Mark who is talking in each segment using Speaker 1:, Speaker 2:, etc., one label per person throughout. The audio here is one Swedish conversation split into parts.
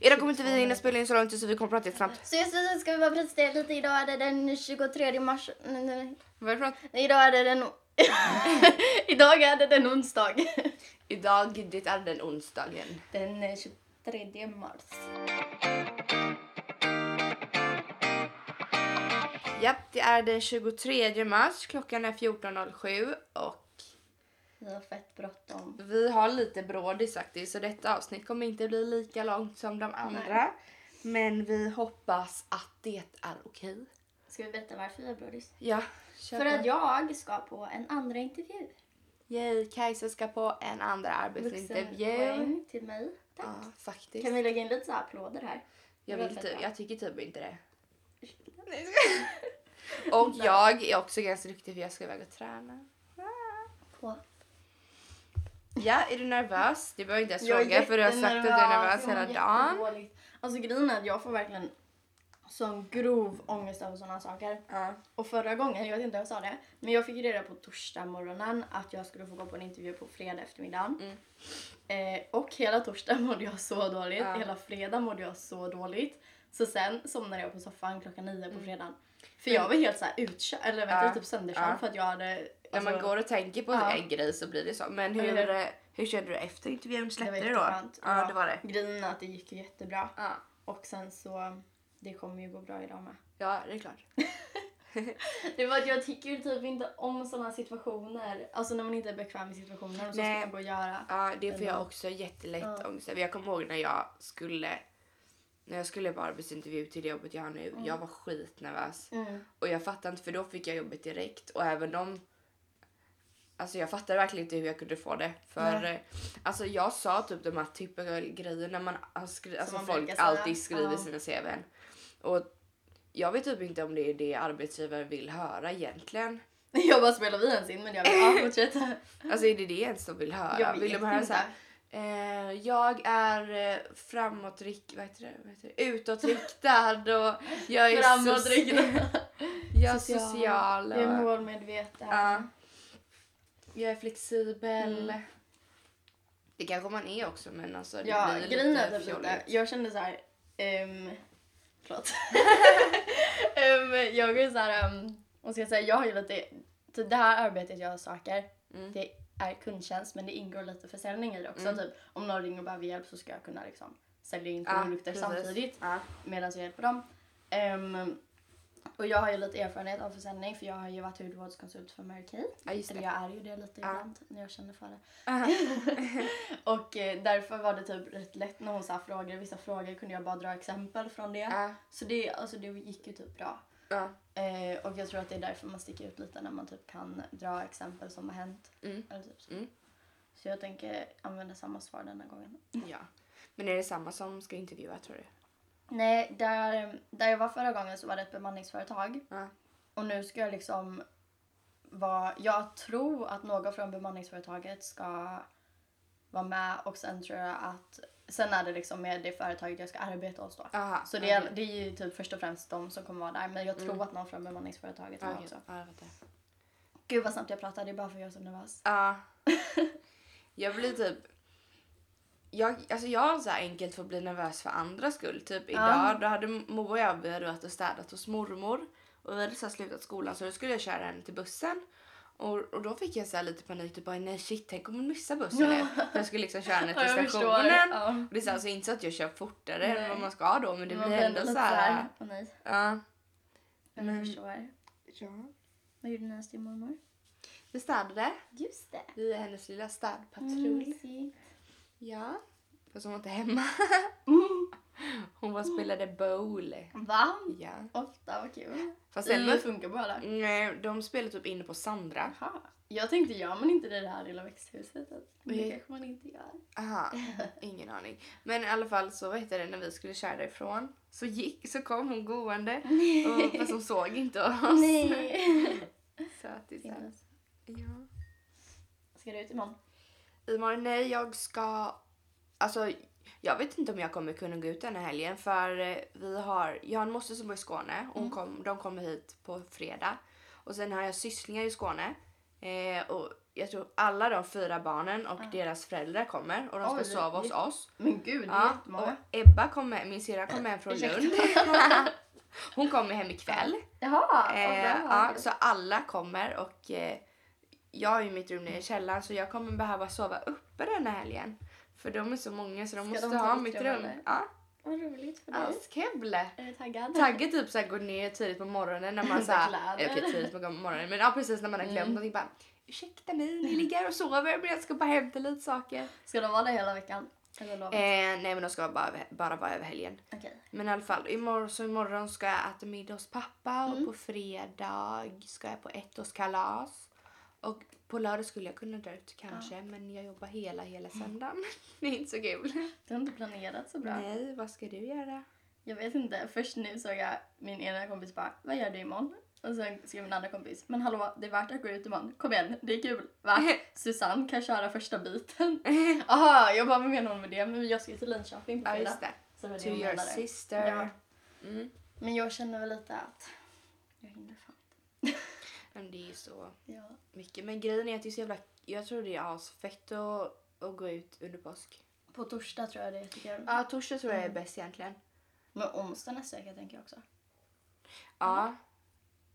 Speaker 1: Idag kommer inte vi hinna spela in så långt så vi kommer prata jättesnabbt.
Speaker 2: Så just det så ska vi bara presentera lite. Idag är det den 23 mars. Nej, nej,
Speaker 1: Vad är det för något?
Speaker 2: nej. Idag är det den... Idag är det den onsdag.
Speaker 1: Idag, det är den onsdagen.
Speaker 2: Den eh, 23 mars.
Speaker 1: Japp, det är den 23 mars. Klockan är 14.07 och
Speaker 2: Vi har fett bråttom.
Speaker 1: vi har lite brådis faktiskt så detta avsnitt kommer inte bli lika långt som de andra. Men vi hoppas att det är okej.
Speaker 2: Ska vi berätta varför vi har brådis?
Speaker 1: Ja, kör
Speaker 2: För
Speaker 1: på.
Speaker 2: att jag ska på en andra intervju.
Speaker 1: Yay, Kajsa ska på en andra arbetsintervju.
Speaker 2: Vuxenpoäng till mig. Tack.
Speaker 1: Ja, faktiskt.
Speaker 2: Alltså, Kan vi lägga in lite så här applåder här?
Speaker 1: Jag,
Speaker 2: Det var
Speaker 1: vill
Speaker 2: fett
Speaker 1: typ,
Speaker 2: bra.
Speaker 1: jag tycker typ inte det. Och jag är också ganska duktig för jag ska iväg och träna.
Speaker 2: På.
Speaker 1: Ja, är du nervös? Det behöver jag inte ens fråga för du har sagt att du är nervös
Speaker 2: Jag
Speaker 1: hela
Speaker 2: mår
Speaker 1: dagen.
Speaker 2: jättedåligt. Alltså grejen är att jag får verkligen sån grov ångest över sådana saker.
Speaker 1: Ja.
Speaker 2: Och förra gången, jag vet inte om jag sa det, men jag fick ju reda på torsdag morgonen att jag skulle få gå på en intervju på fredag eftermiddagen.
Speaker 1: Mm.
Speaker 2: Eh, och hela torsdag mådde jag så dåligt,
Speaker 1: Ja.
Speaker 2: hela fredag mådde jag så dåligt. Så sen somnade jag på soffan klockan nio på fredagen. För
Speaker 1: Men-
Speaker 2: jag var helt såhär utkörd, eller vet
Speaker 1: Mm. Ja.
Speaker 2: du, typ sönderkörd
Speaker 1: Ja.
Speaker 2: för att jag hade...
Speaker 1: När man
Speaker 2: alltså,
Speaker 1: går och tänker på
Speaker 2: ja.
Speaker 1: en grej så blir det så. Men
Speaker 2: Ja,
Speaker 1: hur,
Speaker 2: det är
Speaker 1: eh, hur kände du efter intervjun? Släppte
Speaker 2: var
Speaker 1: det då?
Speaker 2: jätteskönt.
Speaker 1: Ja, det var det.
Speaker 2: Grejen är att det gick ju jättebra.
Speaker 1: Ja,
Speaker 2: Och sen så, det kommer ju gå bra idag med.
Speaker 1: ja det är klart.
Speaker 2: Det var att jag tycker ju typ inte om sådana situationer. Alltså när man inte är bekväm i situationer och så
Speaker 1: Nej.
Speaker 2: ska man gå och göra.
Speaker 1: Ja, det får
Speaker 2: Eller-
Speaker 1: jag också jättelätt
Speaker 2: Mm. Ja.
Speaker 1: ångest över. Jag kommer ihåg när jag skulle när jag skulle på arbetsintervju till det jobbet jag har nu. Jag var skitnervös.
Speaker 2: Mm.
Speaker 1: Och jag fattar inte för då fick jag jobbet direkt och även om Alltså jag fattar verkligen inte hur jag kunde få det. För
Speaker 2: Nej.
Speaker 1: eh, alltså jag sa typ de här typiska grejerna man har skri- alltså
Speaker 2: man
Speaker 1: folk
Speaker 2: brukar säga.
Speaker 1: alltid skriver
Speaker 2: Ja.
Speaker 1: i sina CVn. Och jag vet typ inte om det är det arbetsgivare vill höra egentligen.
Speaker 2: Jag bara spelar vi ens in men jag vill, ja fortsätt.
Speaker 1: Alltså är det det ens de vill höra?
Speaker 2: Jag
Speaker 1: vill de
Speaker 2: vet
Speaker 1: höra
Speaker 2: inte.
Speaker 1: så här, Eh, jag är eh, framåtrikt, vad heter det? Vad heter det? Utåtriktad och jag är,
Speaker 2: Framåt
Speaker 1: soci-
Speaker 2: ryggen.
Speaker 1: jag är social.
Speaker 2: Jag är
Speaker 1: Och,
Speaker 2: målmedveten.
Speaker 1: ja. jag är flexibel. Det kanske man är också men alltså det
Speaker 2: Ja,
Speaker 1: blir
Speaker 2: grejen är
Speaker 1: lite
Speaker 2: typ lite,
Speaker 1: fjolligt.
Speaker 2: jag kände så här. ehm, förlåt. Ehm, jag är så här, ehm, vad ska jag säga, jag har ju lite, typ det här arbetet jag söker,
Speaker 1: Mm.
Speaker 2: det är kundtjänst men det ingår lite försäljning i det också.
Speaker 1: Mm.
Speaker 2: Typ, om någon ringer och behöver hjälp så ska jag kunna liksom, sälja in
Speaker 1: Ja,
Speaker 2: produkter
Speaker 1: precis.
Speaker 2: samtidigt
Speaker 1: Ja.
Speaker 2: medan jag hjälper dem. Ehm, och jag har ju lite erfarenhet av försäljning för jag har ju varit hudvårdskonsult för Mary Kay.
Speaker 1: Ja, just
Speaker 2: Eller
Speaker 1: det.
Speaker 2: jag är ju det lite
Speaker 1: Ja.
Speaker 2: ibland när jag känner för det.
Speaker 1: Aha.
Speaker 2: Och eh, därför var det typ rätt lätt när hon sa frågor. Vissa frågor kunde jag bara dra exempel från det.
Speaker 1: Ja,
Speaker 2: Så det, alltså, det gick ju typ bra.
Speaker 1: ja.
Speaker 2: Eh, och jag tror att det är därför man sticker ut lite när man typ kan dra exempel som har hänt.
Speaker 1: Mm.
Speaker 2: Eller typ så.
Speaker 1: Mm.
Speaker 2: så jag tänker använda samma svar denna gången.
Speaker 1: ja. Men är det samma som ska intervjua tror du?
Speaker 2: Nej, där, där jag var förra gången så var det ett bemanningsföretag.
Speaker 1: Ja.
Speaker 2: Och nu ska jag liksom vara... Jag tror att någon från bemanningsföretaget ska vara med och sen tror jag att... Sen är det liksom med det företaget jag ska arbeta hos då.
Speaker 1: Aha,
Speaker 2: Så det är,
Speaker 1: okej. Mm.
Speaker 2: det är ju typ först och främst de som kommer vara där. Men jag tror att någon från bemanningsföretaget är
Speaker 1: Ja,
Speaker 2: med
Speaker 1: okej.
Speaker 2: också.
Speaker 1: Ja, jag fattar.
Speaker 2: Gud vad snabbt jag pratade, det är bara för att jag är så nervös.
Speaker 1: Ja. Jag blir typ... Jag, alltså jag har så här enkelt för att bli nervös för andra skull. Typ idag då hade Moa och jag vi hade varit och städat hos mormor och vi hade så här slutat skolan så då skulle jag köra henne till bussen. Och, och då fick jag så här lite panik, typ bara nej shit tänk om hon missar bussen nu. För jag skulle liksom köra henne
Speaker 2: Ja,
Speaker 1: till
Speaker 2: jag förstår.
Speaker 1: stationen.
Speaker 2: Ja.
Speaker 1: Och det är så, här, så inte så att jag kör fortare än
Speaker 2: Nej.
Speaker 1: vad man ska då men det blir ändå så här. Mm.
Speaker 2: såhär... Åh nej,
Speaker 1: Ja.
Speaker 2: jag
Speaker 1: Men-
Speaker 2: förstår. Vad gjorde ni ens till mormor?
Speaker 1: Vi städade.
Speaker 2: Just det.
Speaker 1: Vi är hennes lilla
Speaker 2: Mm,
Speaker 1: städpatrull.
Speaker 2: Patrull.
Speaker 1: Ja. Fast hon var inte hemma. Hon var och spelade bowl.
Speaker 2: Mm. Va?
Speaker 1: Ja.
Speaker 2: Ofta, vad kul. Mm.
Speaker 1: Fast sen
Speaker 2: Selma funkar bara där.
Speaker 1: Nej, de spelade typ inne på Sandra.
Speaker 2: Jaha. Jag tänkte, gör man inte det i det här lilla växthuset? Att
Speaker 1: Nej.
Speaker 2: Det kanske man inte gör.
Speaker 1: Aha, ingen aning. Men i alla fall så vet jag det när vi skulle köra därifrån så gick, så kom hon gående. Och, fast hon såg inte oss.
Speaker 2: Nej.
Speaker 1: Så att det är så här, ja.
Speaker 2: Ska du ut imorgon?
Speaker 1: Imorgon, nej jag ska... Alltså jag vet inte om jag kommer kunna gå ut den här helgen för eh, vi har, jag har en moster som bor i Skåne och
Speaker 2: Mm.
Speaker 1: hon kom, de kommer hit på fredag. Och sen har jag sysslingar i Skåne. Eh, och jag tror alla de fyra barnen och deras föräldrar kommer och de ska
Speaker 2: Ah. Oj,
Speaker 1: sova hos
Speaker 2: jätte-
Speaker 1: oss.
Speaker 2: Men gud, det är
Speaker 1: Ja, och
Speaker 2: jättemånga.
Speaker 1: Ebba kommer, min syrra kommer hem från
Speaker 2: Ursäkta.
Speaker 1: Lund. Hon kommer hem ikväll.
Speaker 2: Jaha! och
Speaker 1: Eh,
Speaker 2: där
Speaker 1: ja,
Speaker 2: har vi.
Speaker 1: så alla kommer och eh, jag har ju mitt rum nere i källaren så jag kommer behöva sova uppe den här helgen. För de är så många så de
Speaker 2: Ska
Speaker 1: måste
Speaker 2: de ta
Speaker 1: ha
Speaker 2: ditt
Speaker 1: mitt
Speaker 2: rum,
Speaker 1: rum.
Speaker 2: eller?
Speaker 1: Ja,
Speaker 2: Vad roligt för dig.
Speaker 1: askul.
Speaker 2: Är du taggad?
Speaker 1: Tagge typ såhär går ner tidigt på morgonen när man
Speaker 2: Med
Speaker 1: såhär,
Speaker 2: kläder.
Speaker 1: eh, okej tidigt på morgonen men ja precis när man har glömt
Speaker 2: Mm.
Speaker 1: någonting bara ursäkta mig ni ligger och sover men jag ska bara hämta lite saker.
Speaker 2: Ska de vara där hela veckan? Eller lovet?
Speaker 1: Eh, nej men de ska bara, bara vara över helgen.
Speaker 2: Okej.
Speaker 1: Men i alla fall, imorgon, så imorgon ska jag äta middag hos pappa och på fredag ska jag på ettårskalas. Och på lördag skulle jag kunna dra ut kanske men jag jobbar hela hela söndagen. Det är inte så kul.
Speaker 2: Du har inte planerat så bra.
Speaker 1: Nej, vad ska du göra?
Speaker 2: Jag vet inte. Först nu såg jag min ena kompis bara, vad gör du imorgon? Och sen skrev min andra kompis, men hallå, det är värt att gå ut imorgon. Kom igen, det är kul. Va? Susanne kan köra första biten. Aha, jag bara, vad menar hon med det? Men jag ska ju till Linköping på
Speaker 1: Ja
Speaker 2: fredag.
Speaker 1: just det.
Speaker 2: Så det var det
Speaker 1: To
Speaker 2: jag
Speaker 1: your
Speaker 2: menade.
Speaker 1: sister.
Speaker 2: Ja.
Speaker 1: Mm.
Speaker 2: Men jag känner väl lite att jag hinner fan.
Speaker 1: Men det är ju så
Speaker 2: Ja.
Speaker 1: mycket. Men grejen är att det är så jävla, jag tror det är asfett att, att gå ut under påsk. Mm.
Speaker 2: På torsdag tror jag det är jättekul.
Speaker 1: Ja, torsdag tror jag är bäst egentligen.
Speaker 2: Men onsdag nästa vecka tänker jag också.
Speaker 1: Ja.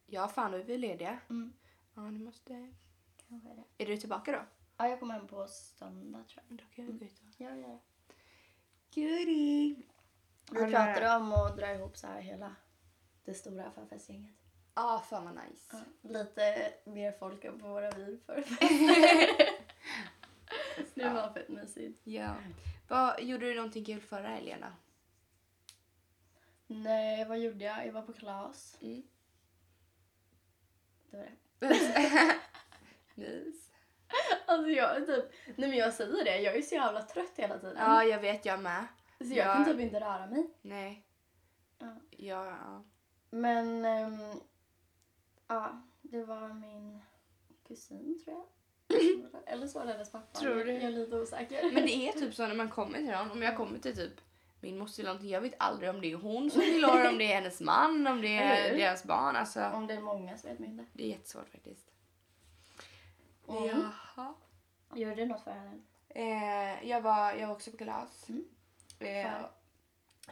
Speaker 1: Ja fan, då är vi lediga.
Speaker 2: Mm.
Speaker 1: Ja, ni måste...
Speaker 2: Kanske det.
Speaker 1: Är du tillbaka då?
Speaker 2: Ja, jag kommer hem på söndag tror jag.
Speaker 1: Då kan jag gå ut och...
Speaker 2: Ja, ja, ja.
Speaker 1: Mm. Goodie!
Speaker 2: Vi pratade om att dra ihop så här hela det stora förfestgänget.
Speaker 1: Ja, fan vad nice.
Speaker 2: Lite mer folk än på våra vinförfester. det var fett mysigt.
Speaker 1: Ja. Vad, gjorde du någonting kul förra helgen då?
Speaker 2: Nej, vad gjorde jag? Jag var på kalas.
Speaker 1: Mm.
Speaker 2: Det var det.
Speaker 1: Nice.
Speaker 2: Alltså jag är typ, nej men jag säger det, jag är så jävla trött hela tiden.
Speaker 1: Ja, jag vet jag med.
Speaker 2: så jag
Speaker 1: ja.
Speaker 2: kan typ inte röra mig.
Speaker 1: Nej.
Speaker 2: Ja.
Speaker 1: Ja, ja.
Speaker 2: Men ehm, ja, det var min kusin tror jag. Eller så var det hennes pappa.
Speaker 1: Tror du?
Speaker 2: Jag är lite osäker.
Speaker 1: Men det är typ så när man kommer till någon, om jag kommer till typ min moster eller någonting, jag vet aldrig om det är hon som vill ha det, om det är hennes man, om det
Speaker 2: Eller
Speaker 1: är
Speaker 2: hur?
Speaker 1: deras barn. Alltså,
Speaker 2: Om det är många så vet man inte.
Speaker 1: det är jättesvårt faktiskt.
Speaker 2: Mm.
Speaker 1: Jaha.
Speaker 2: Gjorde du något för henne?
Speaker 1: Eh, jag, var, jag var också på kalas.
Speaker 2: Mm.
Speaker 1: Eh,
Speaker 2: För?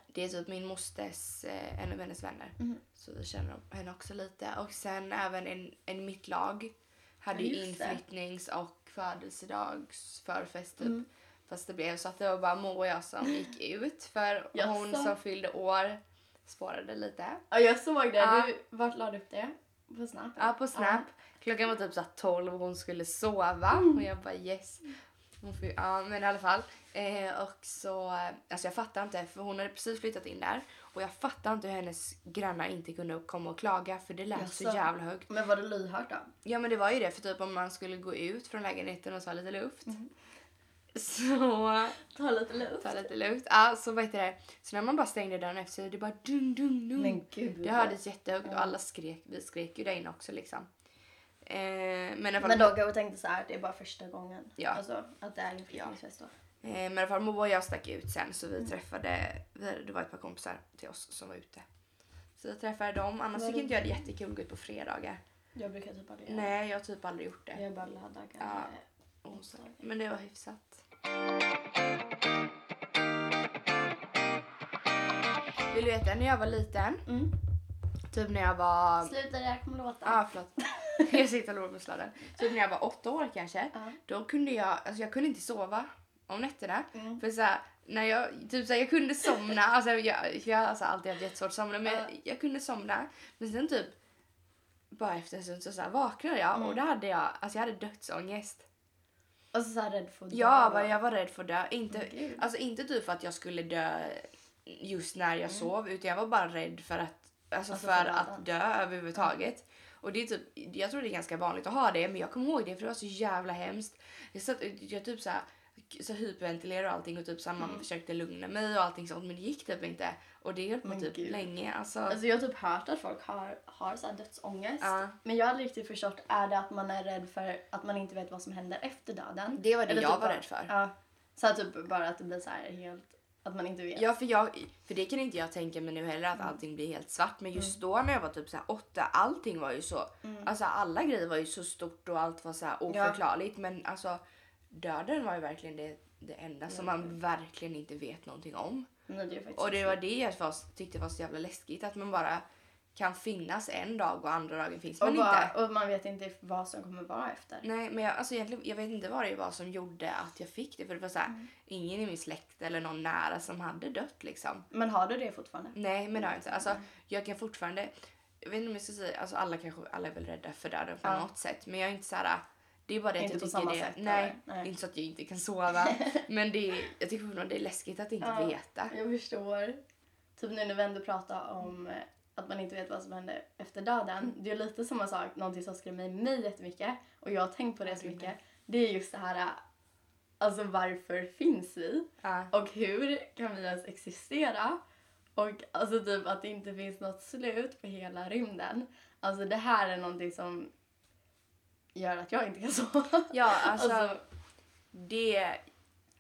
Speaker 1: det är typ min mosters, eh, en av hennes vänner.
Speaker 2: Mm.
Speaker 1: Så vi känner henne också lite. Och sen även en, en i mitt lag hade
Speaker 2: Ja,
Speaker 1: ju
Speaker 2: just det.
Speaker 1: inflyttnings och födelsedagsförfest typ.
Speaker 2: Mm.
Speaker 1: Fast det blev så att det var bara Moa och jag som gick ut. För
Speaker 2: Jaså?
Speaker 1: hon som fyllde år spårade lite.
Speaker 2: Ja, jag såg det.
Speaker 1: Ja.
Speaker 2: Du, vart la du upp det? På Snap?
Speaker 1: Ja, på Snap. Klockan var typ så här 12 och hon skulle sova
Speaker 2: Mm.
Speaker 1: och jag bara yes. Hon får, ja, men i alla fall. Eh, och så, eh, alltså jag fattar inte för hon hade precis flyttat in där och jag fattar inte hur hennes grannar inte kunde komma och klaga för det lät så
Speaker 2: Jaså?
Speaker 1: jävla högt.
Speaker 2: Men var det lyhört då?
Speaker 1: Ja men det var ju det för typ om man skulle gå ut från lägenheten och ta lite luft.
Speaker 2: Mm.
Speaker 1: Så
Speaker 2: Ta lite luft.
Speaker 1: ta lite luft. Ja, så vad heter det? Så när man bara stängde dörren efter sig det bara dung dung dung.
Speaker 2: Men gud.
Speaker 1: Det hördes jättehögt och alla skrek. Vi skrek ju där inne också liksom. Eh, men i alla fall,
Speaker 2: Men då går jag och tänkte så här, det är bara första gången.
Speaker 1: Ja.
Speaker 2: Alltså att det är en flyttningsfest då.
Speaker 1: eh, men i alla fall Moa och jag stack ut sen så vi träffade, vi, det var ett par kompisar till oss som var ute. Så jag träffade dem. Annars
Speaker 2: Var
Speaker 1: tycker
Speaker 2: det-
Speaker 1: inte jag det är jättekul att gå ut på fredagar.
Speaker 2: Jag brukar typ aldrig göra
Speaker 1: Nej, jag har typ aldrig gjort
Speaker 2: det.
Speaker 1: det.
Speaker 2: Jag är bara lördagar.
Speaker 1: Ja.
Speaker 2: onsdag.
Speaker 1: Men det var hyfsat. Vill du veta när jag var liten?
Speaker 2: Mm.
Speaker 1: Typ när jag var...
Speaker 2: Sluta, det här kommer låta.
Speaker 1: Ja, ah, förlåt. jag sitter och låg på sladden. Typ när jag var åtta år kanske.
Speaker 2: Ja.
Speaker 1: Då kunde jag, alltså jag kunde inte sova om nätterna.
Speaker 2: Mm.
Speaker 1: För såhär, när jag, typ såhär, jag kunde somna, alltså jag, jag har alltså alltid haft jättesvårt att somna men
Speaker 2: Ja.
Speaker 1: jag, jag kunde somna. Men sen typ, bara efter en stund så såhär, vaknade jag
Speaker 2: Mm.
Speaker 1: och då hade jag, alltså jag hade dödsångest.
Speaker 2: Och så så här rädd för att dö
Speaker 1: Ja,
Speaker 2: då.
Speaker 1: bara, jag var rädd för att dö. Inte,
Speaker 2: Åh, gud.
Speaker 1: alltså inte typ för att jag skulle dö just när jag sov utan jag var bara rädd för att, alltså
Speaker 2: Mm. Alltså
Speaker 1: för
Speaker 2: för
Speaker 1: att
Speaker 2: döden.
Speaker 1: dö överhuvudtaget. Och det är typ, jag tror det är ganska vanligt att ha det men jag kommer ihåg det för det var så jävla hemskt. Jag, satt, jag typ så här, så hyperventilerade och allting och typ så här,
Speaker 2: Mm.
Speaker 1: man försökte lugna mig och allting sånt men det gick typ inte. Och det höll på
Speaker 2: Men
Speaker 1: typ
Speaker 2: gud.
Speaker 1: länge. Alltså,
Speaker 2: Alltså jag har typ hört att folk har, har så här dödsångest.
Speaker 1: Ja.
Speaker 2: Men jag har aldrig riktigt förstått, är det att man är rädd för att man inte vet vad som händer efter döden?
Speaker 1: det var det
Speaker 2: Eller
Speaker 1: jag
Speaker 2: typ
Speaker 1: var
Speaker 2: bara-
Speaker 1: rädd för.
Speaker 2: Ja. Så här, typ bara att det blir så här helt Att man inte vet.
Speaker 1: Ja, för, jag, för det kan inte jag tänka mig nu heller att
Speaker 2: Mm.
Speaker 1: allting blir helt svart. Men just då när jag var typ så här åtta, allting var ju så.
Speaker 2: Mm.
Speaker 1: Alltså alla grejer var ju så stort och allt var så här oförklarligt. Men alltså döden var ju verkligen det, det enda som
Speaker 2: Mm.
Speaker 1: man verkligen inte vet någonting om.
Speaker 2: Nej, det är faktiskt
Speaker 1: Och det var det jag var, tyckte var så jävla läskigt. Att man bara kan finnas en dag och andra dagen finns man
Speaker 2: och, bara,
Speaker 1: inte.
Speaker 2: och man vet inte vad som kommer vara efter.
Speaker 1: Nej, men jag, alltså egentligen, jag vet inte vad det var som gjorde att jag fick det. För det var så här,
Speaker 2: Mm.
Speaker 1: ingen i min släkt eller någon nära som hade dött liksom.
Speaker 2: Men har du det fortfarande?
Speaker 1: Nej, men det har jag inte.
Speaker 2: Mm.
Speaker 1: Alltså, jag kan fortfarande... Jag vet inte om jag ska säga... Alltså, alla, kanske, alla är väl rädda för döden på
Speaker 2: Ja.
Speaker 1: något sätt. Men jag är inte så här... Det är bara det att
Speaker 2: Inte
Speaker 1: jag
Speaker 2: på
Speaker 1: tycker
Speaker 2: samma
Speaker 1: det...
Speaker 2: sätt,
Speaker 1: nej,
Speaker 2: eller? Nej.
Speaker 1: inte så att jag inte kan sova. men det är, jag tycker fortfarande det är läskigt att inte
Speaker 2: Ja.
Speaker 1: veta.
Speaker 2: Jag förstår. Typ nu när vi ändå pratar om eh, att man inte vet vad som händer efter
Speaker 1: Mm.
Speaker 2: döden. Det är lite samma sak, någonting som skrämmer mig jättemycket och jag har tänkt på det så mycket. Det är just det här, eh, alltså varför finns vi?
Speaker 1: Ja.
Speaker 2: Och hur kan vi ens existera? Och alltså typ att det inte finns något slut på hela rymden. Alltså det här är någonting som gör att jag inte kan sova.
Speaker 1: Ja, alltså,
Speaker 2: Alltså-
Speaker 1: det...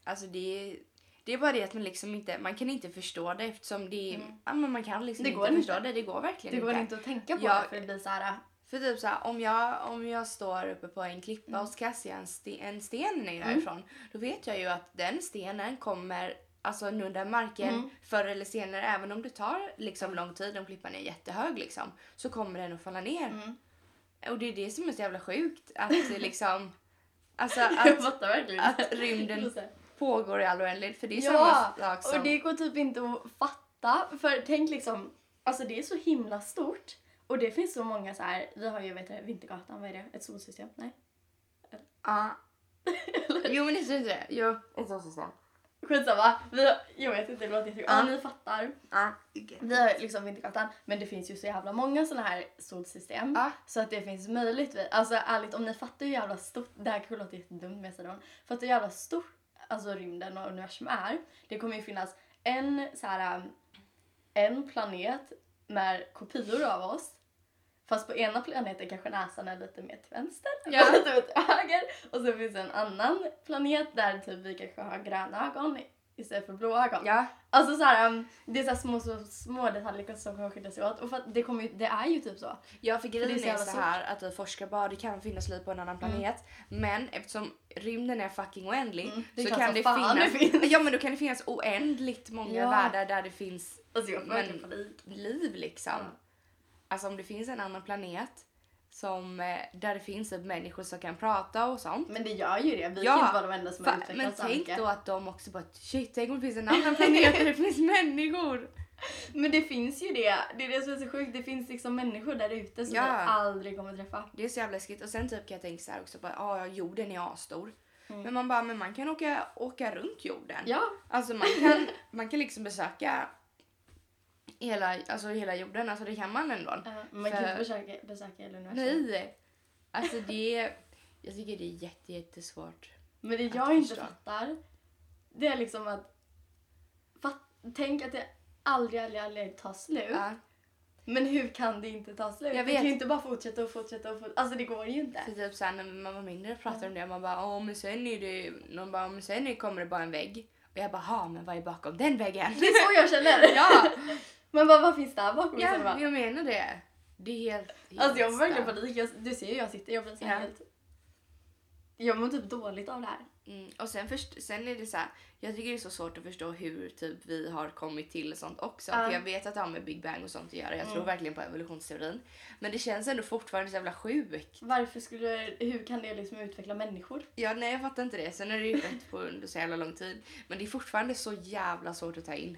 Speaker 1: Alltså det... Det är bara det att man liksom inte... Man kan inte förstå det eftersom det... är- Ja, men man kan liksom
Speaker 2: Mm. Det går
Speaker 1: inte förstå
Speaker 2: inte.
Speaker 1: det. Det går verkligen
Speaker 2: Det går inte att tänka på
Speaker 1: Ja.
Speaker 2: det för det blir så här, eh,
Speaker 1: För typ så här, om jag, om jag står uppe på en klippa och så kastar jag en, ste, en sten ner därifrån. Då vet jag ju att den stenen kommer alltså, nudda marken förr eller senare. Även om det tar liksom, lång tid, om klippan är jättehög, liksom, så kommer den att falla ner. Och det är det som är så jävla sjukt. Att det liksom... Alltså
Speaker 2: jag
Speaker 1: att
Speaker 2: fattar verkligen
Speaker 1: att
Speaker 2: inte.
Speaker 1: rymden-
Speaker 2: Det är så här-
Speaker 1: pågår i all oändlighet. För det är
Speaker 2: Ja,
Speaker 1: samma sak som...
Speaker 2: och det går typ inte att fatta. För tänk liksom, alltså det är så himla stort. Och det finns så många så här, vi har ju vet du, Vintergatan, vad är det? Ett solsystem? Nej.
Speaker 1: Ja. Jo men det är inte det. Jo. Ett sånt system.
Speaker 2: Skitsamma, vi har, jag vet inte, det låter jättekul. Ja,
Speaker 1: Ja.
Speaker 2: ni fattar.
Speaker 1: Ja.
Speaker 2: Vi har liksom Vintergatan, men det finns ju så jävla många sådana här solsystem.
Speaker 1: Ja.
Speaker 2: Så att det finns möjligt, alltså ärligt om ni fattar hur jävla stort, det här kanske låter jättedumt men jag säger det ändå. Fattar hur jävla stort alltså rymden och universum är. Det kommer ju finnas en så här, um, en planet med kopior av oss. Fast på ena planeten kanske näsan är lite mer till vänster
Speaker 1: Ja.
Speaker 2: och lite mer till höger. Och så finns det en annan planet där typ vi kanske har gröna ögon istället för blå ögon.
Speaker 1: Ja.
Speaker 2: Alltså så här, um, det är så här små, så små detaljer som kommer skilja sig åt. Och för att det, kommer ju, det är ju typ så.
Speaker 1: Ja för
Speaker 2: det är
Speaker 1: grejen
Speaker 2: så
Speaker 1: är
Speaker 2: jävla Mm.
Speaker 1: så här att vi forskar bara, det kan finnas liv på en annan planet. Men eftersom rymden är fucking oändlig
Speaker 2: Mm. det är
Speaker 1: så
Speaker 2: klart
Speaker 1: kan
Speaker 2: som
Speaker 1: det
Speaker 2: fan
Speaker 1: finnas,
Speaker 2: det finns.
Speaker 1: Ja men då kan det finnas oändligt många
Speaker 2: Ja.
Speaker 1: världar där det finns
Speaker 2: Alltså jag får
Speaker 1: Men-
Speaker 2: verkligen panik.
Speaker 1: liv liksom.
Speaker 2: Ja.
Speaker 1: Alltså om det finns en annan planet som, eh, där det finns typ människor som kan prata och sånt.
Speaker 2: Men det gör ju det. Vi
Speaker 1: Ja,
Speaker 2: kan inte vara de enda som har
Speaker 1: Fa-
Speaker 2: utvecklat
Speaker 1: men tänk
Speaker 2: tanken.
Speaker 1: då att de också bara shit tänk om det finns en annan planet där det finns människor.
Speaker 2: Men det finns ju det. Det är det som är så sjukt. Det finns liksom människor där ute som
Speaker 1: Ja.
Speaker 2: vi aldrig kommer träffa.
Speaker 1: Det är så jävla läskigt. Och sen typ kan jag tänka så här också, bara, ah, ja jorden är asstor. Men man bara, men man kan åka, åka runt jorden.
Speaker 2: Mm. Ja.
Speaker 1: Alltså man kan, man kan liksom besöka hela, alltså hela jorden, alltså det kan man ändå.
Speaker 2: Eh, man kan
Speaker 1: För-
Speaker 2: inte besöka, besöka hela universum.
Speaker 1: Nej! Alltså det är, jag tycker det är jätte, jättesvårt.
Speaker 2: Men det jag
Speaker 1: Att
Speaker 2: inte
Speaker 1: förstå.
Speaker 2: fattar, det är liksom att... Fatt, tänk att det aldrig, aldrig, aldrig tar slut.
Speaker 1: Ja,
Speaker 2: Men hur kan det inte ta slut?
Speaker 1: Jag
Speaker 2: Det
Speaker 1: vet.
Speaker 2: kan ju inte bara fortsätta och fortsätta och fortsätta. Alltså det går ju inte.
Speaker 1: för typ såhär när man var mindre pratade om det, man bara åh men sen är det, någon bara "Åh, men sen är- kommer det bara en vägg. Och jag bara ha men vad är bakom den väggen?
Speaker 2: Det är så jag känner.
Speaker 1: ja,
Speaker 2: Man bara, vad finns där bakom? Så
Speaker 1: ja
Speaker 2: bara,
Speaker 1: jag menar det. Det är helt... helt
Speaker 2: Alltså jag får verkligen
Speaker 1: stört.
Speaker 2: panik. Jag, du ser ju hur jag sitter. Jag blir så här
Speaker 1: Ja.
Speaker 2: helt... Jag mår typ dåligt av det här.
Speaker 1: Mm, och sen, först, sen är det så här, jag tycker det är så svårt att förstå hur typ vi har kommit till och sånt också.
Speaker 2: Ja. Mm.
Speaker 1: För jag vet att det har med Big Bang och sånt att göra. Jag tror verkligen på evolutionsteorin. Men det känns ändå fortfarande så jävla sjukt.
Speaker 2: Varför skulle... Hur kan det liksom utveckla människor?
Speaker 1: Ja, nej jag fattar inte det. Sen är det ju skett på under så jävla lång tid. Men det är fortfarande så jävla svårt att ta in.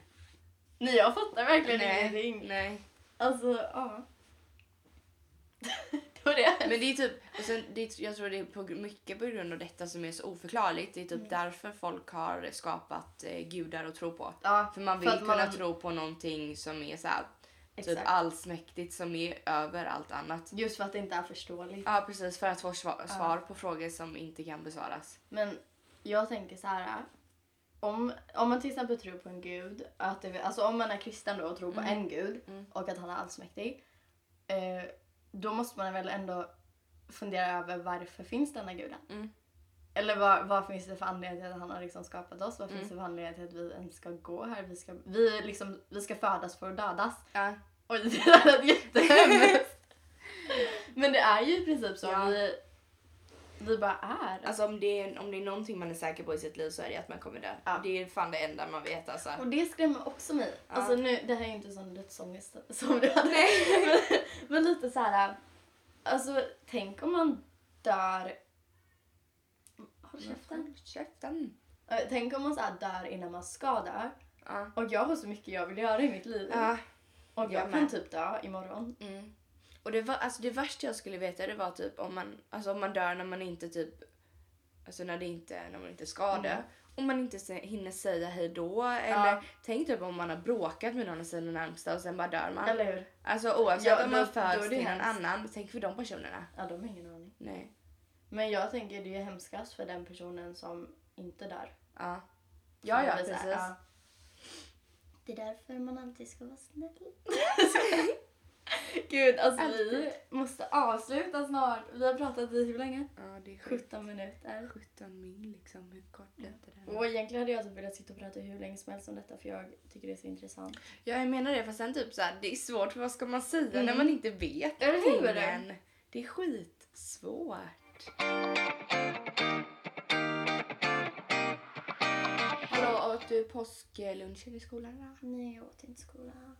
Speaker 2: Nej jag fattar verkligen
Speaker 1: Nej,
Speaker 2: ingenting.
Speaker 1: nej.
Speaker 2: Alltså ja. det var det.
Speaker 1: Men det är typ, och sen, det är, jag tror det är på, gr- mycket på grund av detta som är så oförklarligt. Det är typ
Speaker 2: Mm.
Speaker 1: därför folk har skapat eh, gudar att tro på.
Speaker 2: Ja,
Speaker 1: För man
Speaker 2: För
Speaker 1: vill
Speaker 2: att man-
Speaker 1: kunna tro på någonting som är så här, typ
Speaker 2: Exakt.
Speaker 1: allsmäktigt som är över allt annat.
Speaker 2: Just för att det inte är förståeligt.
Speaker 1: Ja precis, för att få svar, svar på frågor som inte kan besvaras.
Speaker 2: Men jag tänker så här. Om, om man till exempel tror på en gud, att det, alltså om man är kristen då och tror på
Speaker 1: Mm.
Speaker 2: en gud och att han är allsmäktig. Eh, då måste man väl ändå fundera över varför finns denna guden?
Speaker 1: Mm.
Speaker 2: Eller vad, vad finns det för anledning till att han har liksom skapat oss? Vad finns det för anledning till att vi ens ska gå här? Vi ska, vi, är liksom, vi ska födas för att dödas.
Speaker 1: Ja.
Speaker 2: Oj, det där lät jättehemskt. Men det är ju i princip så.
Speaker 1: Ja.
Speaker 2: Vi, vi bara är.
Speaker 1: Alltså om det, är, om det är någonting man är säker på i sitt liv så är det att man kommer dö.
Speaker 2: Ja.
Speaker 1: Det är fan det enda man vet alltså.
Speaker 2: Och det skrämmer också mig.
Speaker 1: Ja.
Speaker 2: Alltså nu, det här är ju inte sån dödsångest som du hade. Men, men lite så här. Alltså tänk om man dör... Håll käften.
Speaker 1: Käften.
Speaker 2: Eh, Tänk om man så här dör innan man ska dö.
Speaker 1: Ja.
Speaker 2: Och jag har så mycket jag vill göra i mitt liv.
Speaker 1: Ja.
Speaker 2: och jag,
Speaker 1: jag
Speaker 2: kan
Speaker 1: med.
Speaker 2: typ dö imorgon.
Speaker 1: Mm. Och det, var, alltså det värsta jag skulle veta det var typ om man, alltså om man dör när man inte typ, alltså när, det inte, när man inte ska dö.
Speaker 2: Mm.
Speaker 1: Om man inte se, hinner säga hej då eller tänk typ om man har bråkat med någon av sina närmsta och sen bara dör man.
Speaker 2: Eller hur?
Speaker 1: Alltså oavsett
Speaker 2: Ja,
Speaker 1: om
Speaker 2: då-
Speaker 1: man
Speaker 2: då
Speaker 1: föds
Speaker 2: är det
Speaker 1: till någon
Speaker 2: hemskt.
Speaker 1: annan, tänk för de personerna.
Speaker 2: Ja, de har ingen aning.
Speaker 1: Nej.
Speaker 2: Men jag tänker det är hemskast för den personen som inte dör.
Speaker 1: Ja. Ja, ja,
Speaker 2: Det blir så
Speaker 1: precis.
Speaker 2: här, ja. Det är därför man alltid ska vara snäll. Gud, alltså vi
Speaker 1: Alltid.
Speaker 2: måste avsluta snart. Vi har pratat i hur länge?
Speaker 1: Ja, det är sjukt.
Speaker 2: 17 minuter.
Speaker 1: 17 mil liksom, hur kort blev det? där?
Speaker 2: Och egentligen hade jag typ velat sitta och prata hur länge som helst om detta för jag tycker det är så intressant.
Speaker 1: Ja, jag menar det. Fast sen typ så här, det är svårt för vad ska man säga
Speaker 2: Mm.
Speaker 1: när man inte vet
Speaker 2: Eller hur?
Speaker 1: tingen? Det är skitsvårt. Hallå, åt du påsklunchen i skolan idag?
Speaker 2: Nej, jag åt inte skolan.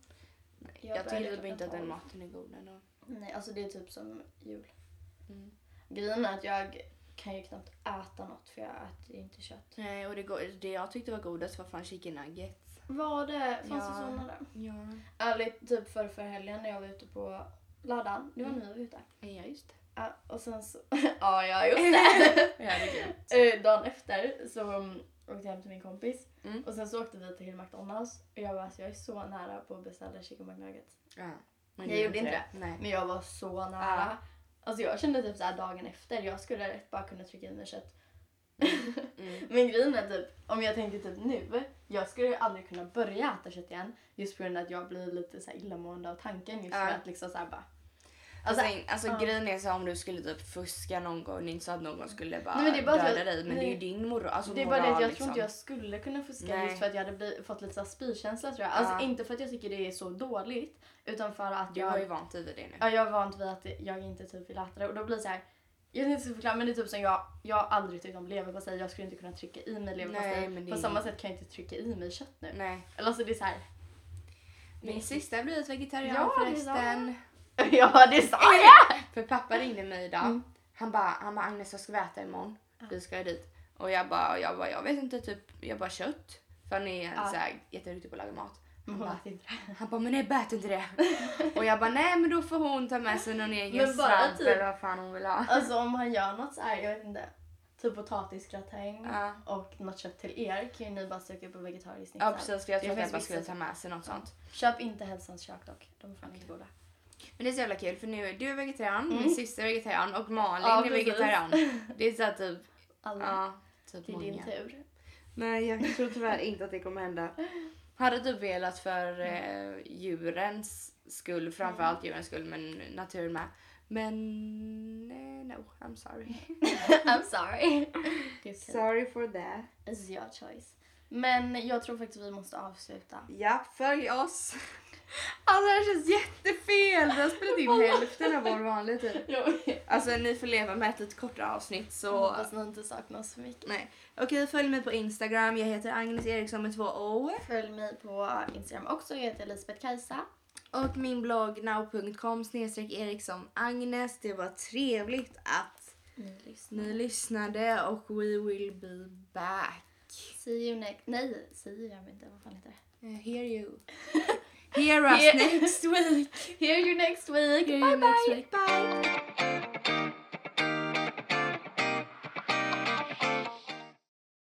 Speaker 1: Jag,
Speaker 2: började
Speaker 1: tycker typ
Speaker 2: klockan
Speaker 1: inte att den
Speaker 2: tolv.
Speaker 1: maten är god ändå.
Speaker 2: Nej, alltså det är typ som jul.
Speaker 1: Mm.
Speaker 2: Grejen är att jag kan ju knappt äta något för jag äter inte kött.
Speaker 1: Nej, och det, go- det jag tyckte var godast var fan chicken nuggets.
Speaker 2: Var det? Fanns det
Speaker 1: Ja.
Speaker 2: sådana där?
Speaker 1: Ja,
Speaker 2: Ärligt, typ för, för helgen när jag var ute på lördagen. Det var när vi var ute.
Speaker 1: Mm. ja just det.
Speaker 2: Ja, och sen så... ja, jag just det.
Speaker 1: Herregud.
Speaker 2: Eh, Dagen efter så mm, åkte jag hem till min kompis.
Speaker 1: Mm.
Speaker 2: Och sen så åkte vi till McDonalds. Och jag var alltså, jag är så nära på att beställa chicken McNuggets.
Speaker 1: Ja.
Speaker 2: Jag
Speaker 1: Men
Speaker 2: gjorde inte
Speaker 1: Nej.
Speaker 2: Men jag var så nära.
Speaker 1: Ja.
Speaker 2: Alltså jag kände typ såhär dagen efter, jag skulle rätt bara kunna trycka i mig kött.
Speaker 1: Mm.
Speaker 2: Men grejen är typ, om jag tänker typ nu, jag skulle ju aldrig kunna börja äta kött igen. Just på grund av att jag blir lite så här illamående av tanken. Just
Speaker 1: Ja.
Speaker 2: för att liksom så här bara...
Speaker 1: Alltså,
Speaker 2: Alltså,
Speaker 1: alltså
Speaker 2: ja.
Speaker 1: grejen är så här, om du skulle typ fuska någon gång, inte så att någon skulle bara,
Speaker 2: Nej, men det är bara
Speaker 1: döda
Speaker 2: att jag-
Speaker 1: dig men det är
Speaker 2: nej.
Speaker 1: ju din moral. Alltså,
Speaker 2: det är bara
Speaker 1: moral,
Speaker 2: det att jag
Speaker 1: liksom.
Speaker 2: tror inte jag skulle kunna fuska
Speaker 1: Nej.
Speaker 2: just för att jag hade bli, fått lite så här spykänsla tror jag. Alltså
Speaker 1: Ja.
Speaker 2: inte för att jag tycker det är så dåligt utan för att
Speaker 1: Du har ju
Speaker 2: jag,
Speaker 1: vant dig vid det nu.
Speaker 2: ja, jag är vant vid att det- jag inte typ vill äta det. Och då blir det så här, jag vet inte hur jag ska förklara men det är typ som jag, jag har aldrig tyckt om leverpastej. Jag skulle inte kunna trycka i mig
Speaker 1: Nej,
Speaker 2: leverpastej.
Speaker 1: men det
Speaker 2: På
Speaker 1: är-
Speaker 2: samma sätt kan jag inte trycka i mig kött nu.
Speaker 1: Nej.
Speaker 2: Eller alltså det är så här,
Speaker 1: Min syster har blivit vegetarian
Speaker 2: Ja, det är
Speaker 1: förresten.
Speaker 2: ja det sa jag!
Speaker 1: För pappa ringde mig idag.
Speaker 2: Mm.
Speaker 1: Han bara, han bara Agnes vad ska vi äta imorgon? Vi ska ju dit. Och jag bara, jag bara, jag vet inte typ, jag bara kött. För han är
Speaker 2: Ja.
Speaker 1: så här, jätteduktig på att laga mat. Han
Speaker 2: Men hon
Speaker 1: bara,
Speaker 2: äter inte det.
Speaker 1: han bara, men nej bät inte det. och jag bara, nej men då får hon ta med sig någon egen
Speaker 2: Men bara
Speaker 1: svamp
Speaker 2: typ-
Speaker 1: eller vad fan hon vill ha.
Speaker 2: Alltså om han gör något så här, jag vet inte. Typ potatisgratäng
Speaker 1: Ja.
Speaker 2: och något kött till er kan ju ni bara söka på vegetariskt
Speaker 1: Ja
Speaker 2: snitsel.
Speaker 1: precis för jag
Speaker 2: Det
Speaker 1: trodde
Speaker 2: finns
Speaker 1: att man
Speaker 2: vissa
Speaker 1: skulle ta
Speaker 2: som-
Speaker 1: med sig något sånt.
Speaker 2: Köp inte Hälsans kök dock. De är fan inte goda.
Speaker 1: Men det är så jävla kul för nu är du vegetarian,
Speaker 2: Mm.
Speaker 1: min syster är vegetarian och Malin
Speaker 2: Ja,
Speaker 1: är
Speaker 2: precis.
Speaker 1: vegetarian. Det är såhär typ,
Speaker 2: Alla.
Speaker 1: ja typ
Speaker 2: det är
Speaker 1: många.
Speaker 2: din tur.
Speaker 1: Nej jag tror tyvärr inte att det kommer hända. Hade du typ velat för
Speaker 2: Mm.
Speaker 1: eh, djurens skull, framförallt djurens skull men naturen med. Men eh, no, I'm sorry.
Speaker 2: I'm sorry. Det är okej.
Speaker 1: Sorry for that.
Speaker 2: It's your choice. Men jag tror faktiskt vi måste avsluta.
Speaker 1: Ja, följ oss. Alltså det här känns jättefel. Vi har spelat in hälften av vår vanliga typ.
Speaker 2: Jag
Speaker 1: Alltså ni får leva med ett lite kortare avsnitt så...
Speaker 2: hoppas ni inte saknar oss för mycket.
Speaker 1: Nej. Okej, följ mig på Instagram. Jag heter Agnes Eriksson med två O.
Speaker 2: Följ mig på Instagram också. Jag heter Lisbeth Kajsa.
Speaker 1: Och min blogg now.com snedstreck Eriksson Agnes. Det var trevligt att
Speaker 2: Ni lyssnar.
Speaker 1: ni lyssnade och we will be back.
Speaker 2: See you next... Nej, see you gör vi inte. Vad fan heter det?
Speaker 1: Eh, Hear you. Hear us
Speaker 2: Hear-
Speaker 1: next week.
Speaker 2: Hear you next week.
Speaker 1: Hear
Speaker 2: bye
Speaker 1: you
Speaker 2: bye.
Speaker 1: next week. Bye.